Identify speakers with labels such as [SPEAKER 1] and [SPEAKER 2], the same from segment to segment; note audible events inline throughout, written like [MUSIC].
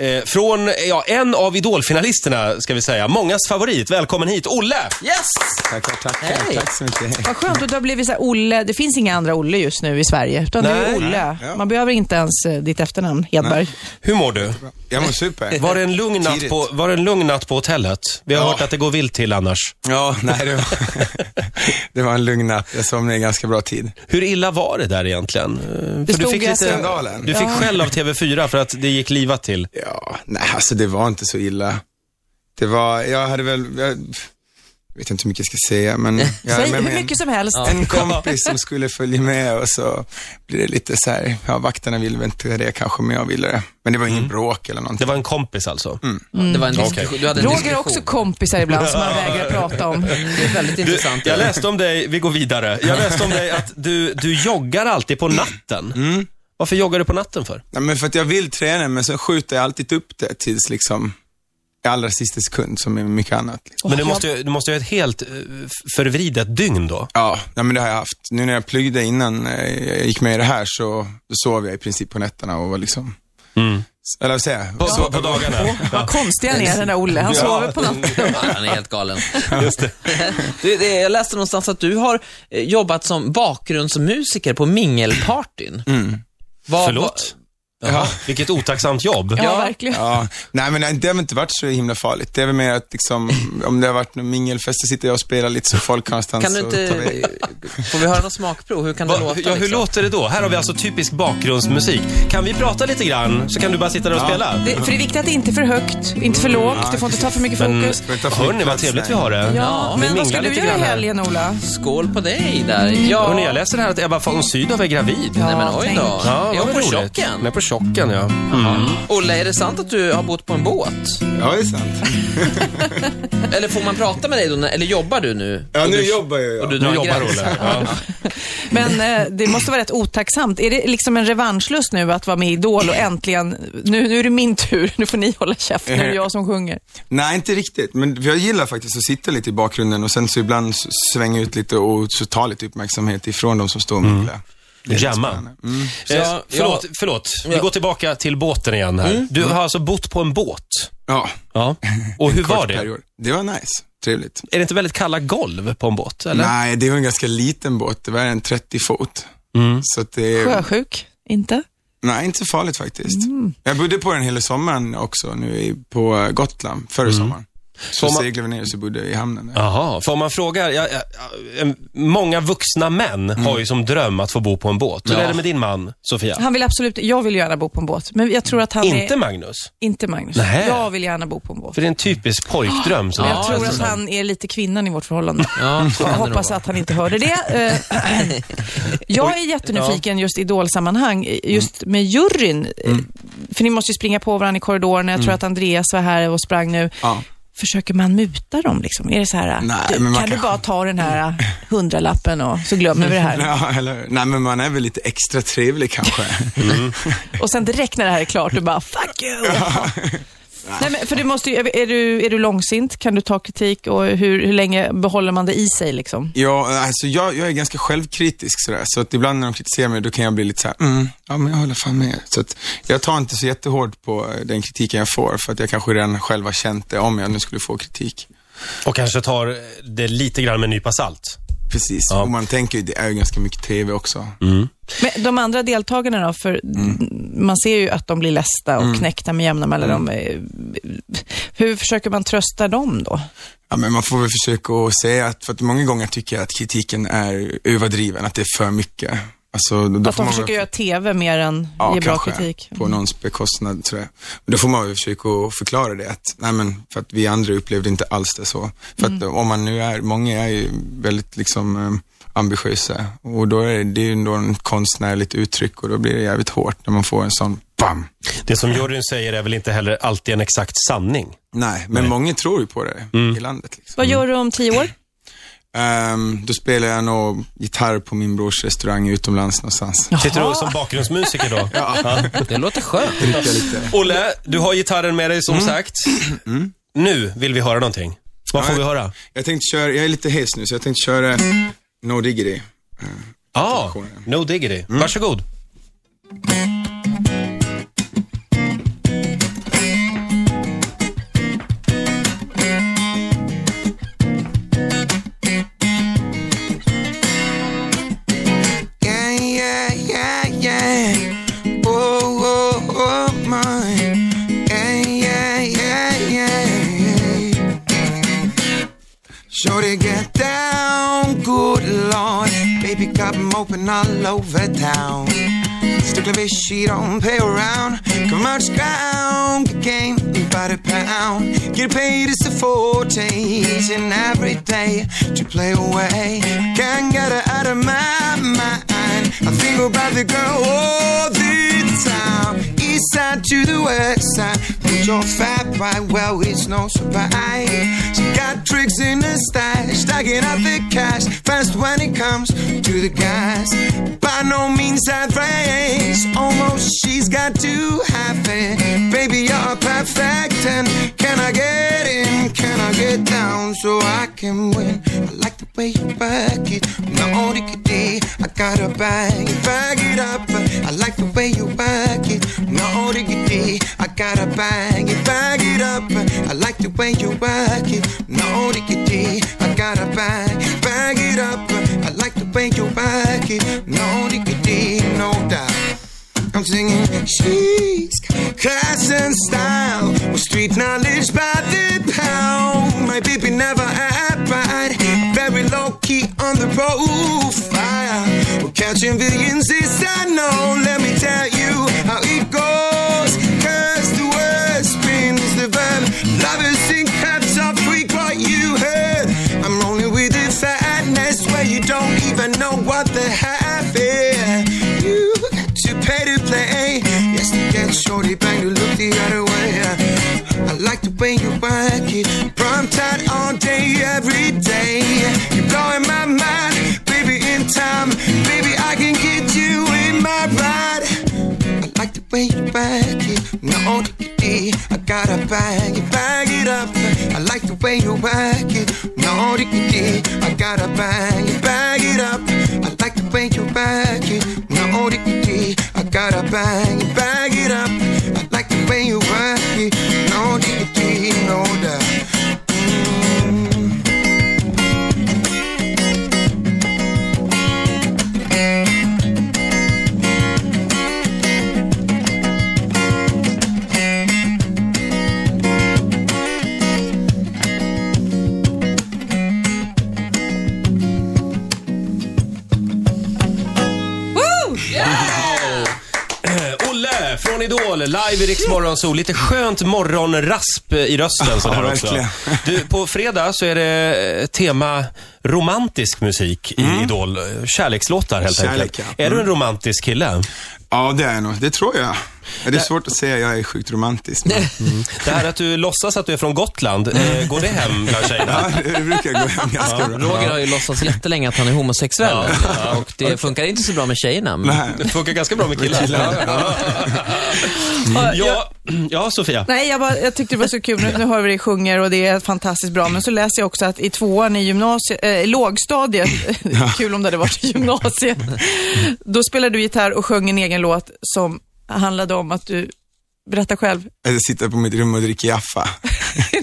[SPEAKER 1] Eh, från ja, en av idolfinalisterna, ska vi säga. Mångas favorit. Välkommen hit, Olle!
[SPEAKER 2] Yes!
[SPEAKER 3] Tackar, tackar.
[SPEAKER 2] Hej.
[SPEAKER 3] Tack så mycket.
[SPEAKER 4] Vad skönt att du har blivit så här Olle. Det finns inga andra Olle just nu i Sverige. Utan du
[SPEAKER 1] Nej.
[SPEAKER 4] är Olle.
[SPEAKER 3] Ja.
[SPEAKER 4] Man behöver inte ens eh, ditt efternamn, Hedberg.
[SPEAKER 1] Hur mår du?
[SPEAKER 3] Jag mår super.
[SPEAKER 1] Var det en lugn natt
[SPEAKER 3] Tidigt.
[SPEAKER 1] på, var det en lugn natt på hotellet? Vi har
[SPEAKER 3] Ja.
[SPEAKER 1] hört att det går vilt till annars.
[SPEAKER 3] Ja, [LAUGHS] nej, det var, det var en lugn natt. Jag somnade i ganska bra tid.
[SPEAKER 1] Hur illa var det där egentligen? Eh, för
[SPEAKER 4] stod ju att-
[SPEAKER 3] Skandalen.
[SPEAKER 1] du fick skäll av TV4 för att det gick livat till.
[SPEAKER 3] Ja, nej, alltså det var inte så illa. Det var, jag hade väl, jag vet inte hur mycket jag ska säga, men jag hade
[SPEAKER 4] Säg
[SPEAKER 3] med
[SPEAKER 4] hur
[SPEAKER 3] mig en-
[SPEAKER 4] mycket som helst.
[SPEAKER 3] en kompis som skulle följa med och så blir det lite så här, ja vakterna ville väl inte det kanske, men jag ville det. Men det var ingen bråk eller
[SPEAKER 1] Det
[SPEAKER 3] någonting.
[SPEAKER 1] var en kompis alltså.
[SPEAKER 3] Mm.
[SPEAKER 2] Det var en diskussion. Du hade en
[SPEAKER 4] Roger
[SPEAKER 2] diskussion.
[SPEAKER 4] har också kompisar ibland som han vägrar prata om.
[SPEAKER 2] Det är väldigt
[SPEAKER 1] Du,
[SPEAKER 2] intressant.
[SPEAKER 1] jag läste om dig, vi går vidare. Jag läste om dig att du, du joggar alltid på natten.
[SPEAKER 3] Mm.
[SPEAKER 1] Varför joggar du på natten för?
[SPEAKER 3] Nej, men för att jag vill träna, men så skjuter jag alltid upp det tills liksom, i allra sista sekund, som är mycket annat. Liksom.
[SPEAKER 1] Men du måste, ju- du måste ju ha ett helt eh, f- förvridet dygn då.
[SPEAKER 3] Ja, nej, men det har jag haft. Nu när jag pluggade innan eh, jag gick med i det här så då sov jag i princip på nätterna och var liksom, S- eller vad säger jag?
[SPEAKER 1] På, på, på dagarna.
[SPEAKER 4] Vad konstig han är, den där Olle. Han sover på natten.
[SPEAKER 2] [LAUGHS] Han är helt galen. [LAUGHS] Du, det, jag läste någonstans att du har eh, jobbat som bakgrundsmusiker på mingelpartyn.
[SPEAKER 1] [LAUGHS]
[SPEAKER 2] Vad-
[SPEAKER 1] Förlåt? Jaha, vilket otacksamt jobb.
[SPEAKER 4] Ja, verkligen.
[SPEAKER 3] Ja, nej men nej, det har väl inte varit så himla farligt. Det är väl mer att liksom, om det har varit någon mingelfest så sitter jag och spelar lite så folk har någonstans
[SPEAKER 2] Kan du
[SPEAKER 3] att ta
[SPEAKER 2] inte,
[SPEAKER 3] vägen.
[SPEAKER 2] [LAUGHS] får vi höra något smakprov? Hur kan
[SPEAKER 1] Va,
[SPEAKER 2] det låta?
[SPEAKER 1] ja, hur
[SPEAKER 2] liksom?
[SPEAKER 1] låter det då? Här har vi alltså typisk bakgrundsmusik. Kan vi prata lite grann så kan du bara sitta där och spela?
[SPEAKER 4] Det, för det är viktigt att det inte är för högt, inte för lågt. Du får inte ta för mycket
[SPEAKER 1] Men
[SPEAKER 4] fokus.
[SPEAKER 3] vi ta
[SPEAKER 1] hörni, vad
[SPEAKER 3] flygplats?
[SPEAKER 1] trevligt vi
[SPEAKER 3] Nej.
[SPEAKER 1] har det.
[SPEAKER 4] Ja,
[SPEAKER 1] Vi
[SPEAKER 4] men vad
[SPEAKER 1] minglar
[SPEAKER 4] ska du
[SPEAKER 1] lite
[SPEAKER 4] göra i
[SPEAKER 1] grann här.
[SPEAKER 4] helgen, Ola?
[SPEAKER 2] Skål på dig där. Ja.
[SPEAKER 1] Hörni, jag läser här att Ebba von Sydow är gravid.
[SPEAKER 2] Nej men oj då.
[SPEAKER 1] Ja, vad
[SPEAKER 2] är hon på
[SPEAKER 1] roligt. Hon är
[SPEAKER 2] chocken?
[SPEAKER 1] på chocken, ja.
[SPEAKER 2] Olle, är det sant att du har bott på en båt?
[SPEAKER 3] Ja, det är sant.
[SPEAKER 2] Eller får man prata med dig då? när- Eller jobbar du nu?
[SPEAKER 3] Ja,
[SPEAKER 2] Och
[SPEAKER 3] nu
[SPEAKER 2] du,
[SPEAKER 3] jobbar jag.
[SPEAKER 2] Och du
[SPEAKER 3] Ja.
[SPEAKER 2] drar
[SPEAKER 1] Nu
[SPEAKER 2] en
[SPEAKER 1] jobbar
[SPEAKER 2] gräns.
[SPEAKER 1] [LAUGHS] Olle. Ja.
[SPEAKER 4] Men eh, det måste vara rätt otacksamt. Är det liksom en revanschlust nu att vara med i Idol och äntligen, nu, nu är det min tur, nu får ni hålla käften, nu är det jag som sjunger.
[SPEAKER 3] Nej, inte riktigt. Men jag gillar faktiskt att sitta lite i bakgrunden och sen så ibland s- svänga ut lite och så ta lite uppmärksamhet ifrån de som står och minglar. Det är lite
[SPEAKER 1] Jamma.
[SPEAKER 3] spännande. Mm.
[SPEAKER 1] Eh,
[SPEAKER 2] jag-
[SPEAKER 1] förlåt, förlåt. Vi
[SPEAKER 2] Ja.
[SPEAKER 1] går tillbaka till båten igen här. Du har alltså bott på en båt.
[SPEAKER 3] Ja,
[SPEAKER 1] Ja. [LAUGHS] Och hur var
[SPEAKER 3] kort
[SPEAKER 1] det?
[SPEAKER 3] period. Det var nice. Trevligt.
[SPEAKER 1] Är det inte väldigt kalla golv på en båt, eller?
[SPEAKER 3] Nej, det var en ganska liten båt. Det var en 30 fot. Så att det,
[SPEAKER 4] Sjösjuk? Inte?
[SPEAKER 3] nej, inte så farligt faktiskt. Jag bodde på den hela sommaren också, nu i- på Gotland, förra sommaren. Så
[SPEAKER 1] Sommar-
[SPEAKER 3] seglade vi ner och så bodde jag i hamnen där.
[SPEAKER 1] Jaha, för om man frågar, ja, ja, ja, en- många vuxna män
[SPEAKER 3] Mm.
[SPEAKER 1] har ju som dröm att få bo på en båt. Hur
[SPEAKER 2] Ja.
[SPEAKER 1] är det med din man, Sofia?
[SPEAKER 4] Han vill absolut, jag vill gärna bo på en båt, men jag tror att han
[SPEAKER 1] Inte
[SPEAKER 4] är,
[SPEAKER 1] Magnus,
[SPEAKER 4] inte Magnus.
[SPEAKER 1] Nähä.
[SPEAKER 4] Jag vill gärna bo på en båt.
[SPEAKER 1] för det är en typisk pojkdröm. Som
[SPEAKER 2] Ja,
[SPEAKER 1] jag
[SPEAKER 4] Jag tror
[SPEAKER 2] det är
[SPEAKER 4] att
[SPEAKER 2] sant.
[SPEAKER 4] han är lite kvinnan i vårt förhållande.
[SPEAKER 2] Ja, så
[SPEAKER 4] Jag
[SPEAKER 2] kan det nog
[SPEAKER 4] hoppas
[SPEAKER 2] vara.
[SPEAKER 4] att han inte hörde det. Eh, Jag är jättenyfiken just i idolsammanhang,
[SPEAKER 2] Mm.
[SPEAKER 4] eh, just med juryn. eh, För ni måste ju springa på varandra i korridoren.
[SPEAKER 2] Mm.
[SPEAKER 4] Jag tror att Andreas var här och sprang nu.
[SPEAKER 3] Ja.
[SPEAKER 4] Försöker man muta dem liksom? Är det så här,
[SPEAKER 3] Nej,
[SPEAKER 4] du,
[SPEAKER 3] men
[SPEAKER 4] kan
[SPEAKER 3] man
[SPEAKER 4] du
[SPEAKER 3] kanske-
[SPEAKER 4] bara ta den här eh, hundralappen och så glömmer vi
[SPEAKER 3] [LAUGHS]
[SPEAKER 4] det här.
[SPEAKER 3] Ja, eller hur? Nej, men man är väl lite extra trevlig kanske.
[SPEAKER 4] Och sen direkt när det här är klart, du bara fuck you. [LAUGHS] Nej, men för det måste ju, är, du, är du långsint? Kan du ta kritik? Och hur, hur länge behåller man det i sig liksom?
[SPEAKER 3] Ja, alltså jag, jag är ganska självkritisk sådär, så att ibland när de kritiserar mig då kan jag bli lite såhär, mm, ja men jag håller fan med. Så att jag tar inte så jättehårt på eh, den kritiken jag får, för att jag kanske redan själv har känt det om jag nu skulle få kritik.
[SPEAKER 1] Och kanske tar det lite grann med en nypa salt.
[SPEAKER 3] Precis, och man tänker ju, det är ju ganska mycket TV också.
[SPEAKER 4] Men de andra deltagarna då, för
[SPEAKER 3] Mm.
[SPEAKER 4] man ser ju att de blir ledsna och knäckta med jämna mellanrum.
[SPEAKER 3] Mm.
[SPEAKER 4] Eh, Hur försöker man trösta dem då?
[SPEAKER 3] Ja, men man får väl försöka att säga att, för att många gånger tycker jag att kritiken är överdriven, att det är för mycket. Alltså, då, då
[SPEAKER 4] Att
[SPEAKER 3] får
[SPEAKER 4] de
[SPEAKER 3] man
[SPEAKER 4] försöker
[SPEAKER 3] väl-
[SPEAKER 4] göra TV mer än
[SPEAKER 3] Ja,
[SPEAKER 4] ge bra
[SPEAKER 3] kanske.
[SPEAKER 4] kritik? Mm.
[SPEAKER 3] På någons bekostnad, tror jag. Men då får man ju försöka att förklara det, att, nej men, för att vi andra upplevde inte alls det så. För att
[SPEAKER 4] Mm.
[SPEAKER 3] om man nu är, många är ju väldigt liksom eh, ambitiösa och då är det, det är ju ändå en konstnärligt uttryck och då blir det jävligt hårt när man får en sån BAM!
[SPEAKER 1] Det som juryn säger är väl inte heller alltid en exakt sanning.
[SPEAKER 3] Nej, men många tror ju på det i landet. Liksom.
[SPEAKER 4] Vad gör du om tio år?
[SPEAKER 3] Ehm, då spelar jag nog gitarr på min brors restaurang utomlands någonstans.
[SPEAKER 1] Sitter du som bakgrundsmusiker då?
[SPEAKER 2] Det låter skönt.
[SPEAKER 3] Dricka lite.
[SPEAKER 1] Olle, du har gitarren med dig som [CLEARS THROAT] sagt. Mm. Nu vill vi höra någonting. Vad får
[SPEAKER 3] Ja,
[SPEAKER 1] vi höra?
[SPEAKER 3] Jag tänkte köra, jag är lite hes nu så jag tänkte köra No Diggity.
[SPEAKER 1] Ja, ah, No Diggity. Varsågod.
[SPEAKER 4] Oh,
[SPEAKER 5] Baby got 'em open all over town. Stick like this, she don't pay around. Commercial ground, good game, you buy the pound. Get paid, it's a forte each and every day to play away. Can't get her out of my mind. I think about the girl all the time. East side to the west side. Put your fat right, well, it's no surprise. She got tricks in her stash, stacking up the cash. Fast when it comes to the guys. By no means average, almost she's got to have it. Baby, you're perfect, and can I get in? Can I get down so I can win? I like the way you work it. No, diggity, I got a bag, bag it up. I like the way you work it. No, diggity, I got a bag, bag it up. I like the way you work it. No, diggity, I got a bag, bag it up. I like the way you work it. No, diggity, no doubt. I'm singing She's got class and style With street knowledge by the pound My baby never had pride Very low key on the profile We're catching billions, this I know Let me tell you how it goes Cause the word spins the verb Lovers in caps are freak what you heard I'm rolling with the fatness Where you don't even know what the half is You got to pay to play. Yes, to get shorty bang to look the other way. I like the way you work it. Prime tight all day, every day. You're blowing my mind, baby, in time. Baby, I can get you in my ride. I like the way you work it. No diggity, I gotta bag it, bag it up. I like the way you work it. No diggity, I gotta bag it, bag it up. I like the way you work it. No diggity, I gotta bag it, bag it up. I like the way you work it. No diggity, no doubt. Mm.
[SPEAKER 1] Eh, Olle från Idol, live i Rix Morgonzoo. Lite skönt morgonrasp i [LAUGHS] rösten sådär
[SPEAKER 5] Ja,
[SPEAKER 1] också.
[SPEAKER 5] verkligen.
[SPEAKER 1] Du, på fredag så är det eh, tema romantisk musik i Idol. Kärlekslåtar helt
[SPEAKER 5] Kärlek,
[SPEAKER 1] enkelt.
[SPEAKER 5] ja.
[SPEAKER 1] Är du en romantisk kille?
[SPEAKER 5] Ja, det är nog, det tror jag. Det är svårt att säga, jag är sjukt
[SPEAKER 4] [LAUGHS]
[SPEAKER 5] romantisk. Men,
[SPEAKER 1] Det här att du låtsas att du är från Gotland, eh, går det hem bland tjejerna? [LAUGHS]
[SPEAKER 5] ja, det brukar gå hem ganska bra.
[SPEAKER 2] Roger har ju
[SPEAKER 5] [LAUGHS]
[SPEAKER 2] låtsats jättelänge att han är homosexuell. och det funkar inte så bra med tjejerna. Men...
[SPEAKER 5] Nej.
[SPEAKER 1] Det funkar ganska bra med killar. Ja, ja. ja, ja Sofia.
[SPEAKER 4] Nej, jag, bara, jag tyckte det var så kul. Nu, nu hör vi dig sjunger och det är fantastiskt bra. Men så läser jag också att i tvåan i gymnasiet, eh, i lågstadiet,
[SPEAKER 5] [LAUGHS]
[SPEAKER 4] [LAUGHS] kul om det hade varit i gymnasiet, då spelade du gitarr och sjöng en egen låt som handlade om att du, berätta själv, [LAUGHS]
[SPEAKER 5] Jag sitter på mitt rum och dricker Jaffa.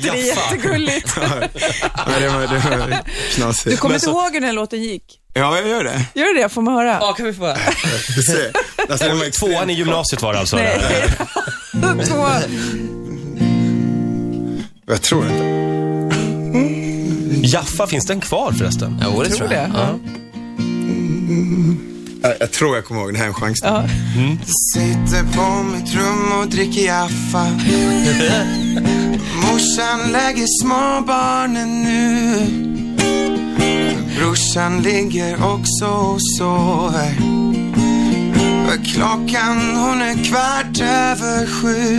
[SPEAKER 4] det är jättegulligt.
[SPEAKER 5] [LAUGHS] Ja, det var, det var knasigt.
[SPEAKER 4] Du kommer
[SPEAKER 5] Men
[SPEAKER 4] inte
[SPEAKER 5] så-
[SPEAKER 4] ihåg hur den här låten gick?
[SPEAKER 5] Ja, jag gör det.
[SPEAKER 4] Gör du det? Får man höra?
[SPEAKER 2] Ja, kan vi få
[SPEAKER 5] Du ser. Alltså, det var
[SPEAKER 1] Tvåan i
[SPEAKER 5] extremt...
[SPEAKER 1] gymnasiet var det alltså.
[SPEAKER 4] Nej. [LAUGHS]
[SPEAKER 1] Det här.
[SPEAKER 4] Två.
[SPEAKER 5] Jag tror inte.
[SPEAKER 1] Jaffa, finns den kvar förresten?
[SPEAKER 2] Jo, det
[SPEAKER 4] Tror
[SPEAKER 2] tror
[SPEAKER 4] det?
[SPEAKER 2] jag. Ja.
[SPEAKER 5] Jag, jag tror jag kommer ihåg, det här är en chans.
[SPEAKER 4] Ja.
[SPEAKER 5] Sitter på mitt rum och dricker Jaffa. Morsan lägger småbarnen nu. Brorsan ligger också och sover. Klockan hon är kvart över sju.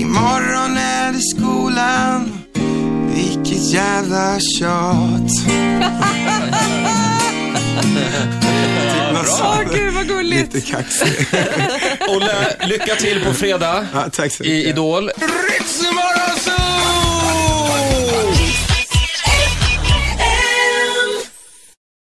[SPEAKER 5] Imorgon är det skolan. Vilket jävla tjat.
[SPEAKER 4] Åh, gud vad gulligt.
[SPEAKER 5] Lite kaxig.
[SPEAKER 1] Olle, lycka till på fredag
[SPEAKER 5] Ja, tack så
[SPEAKER 1] i
[SPEAKER 5] mycket.
[SPEAKER 1] Idol.
[SPEAKER 5] Ritzmorgonzoo!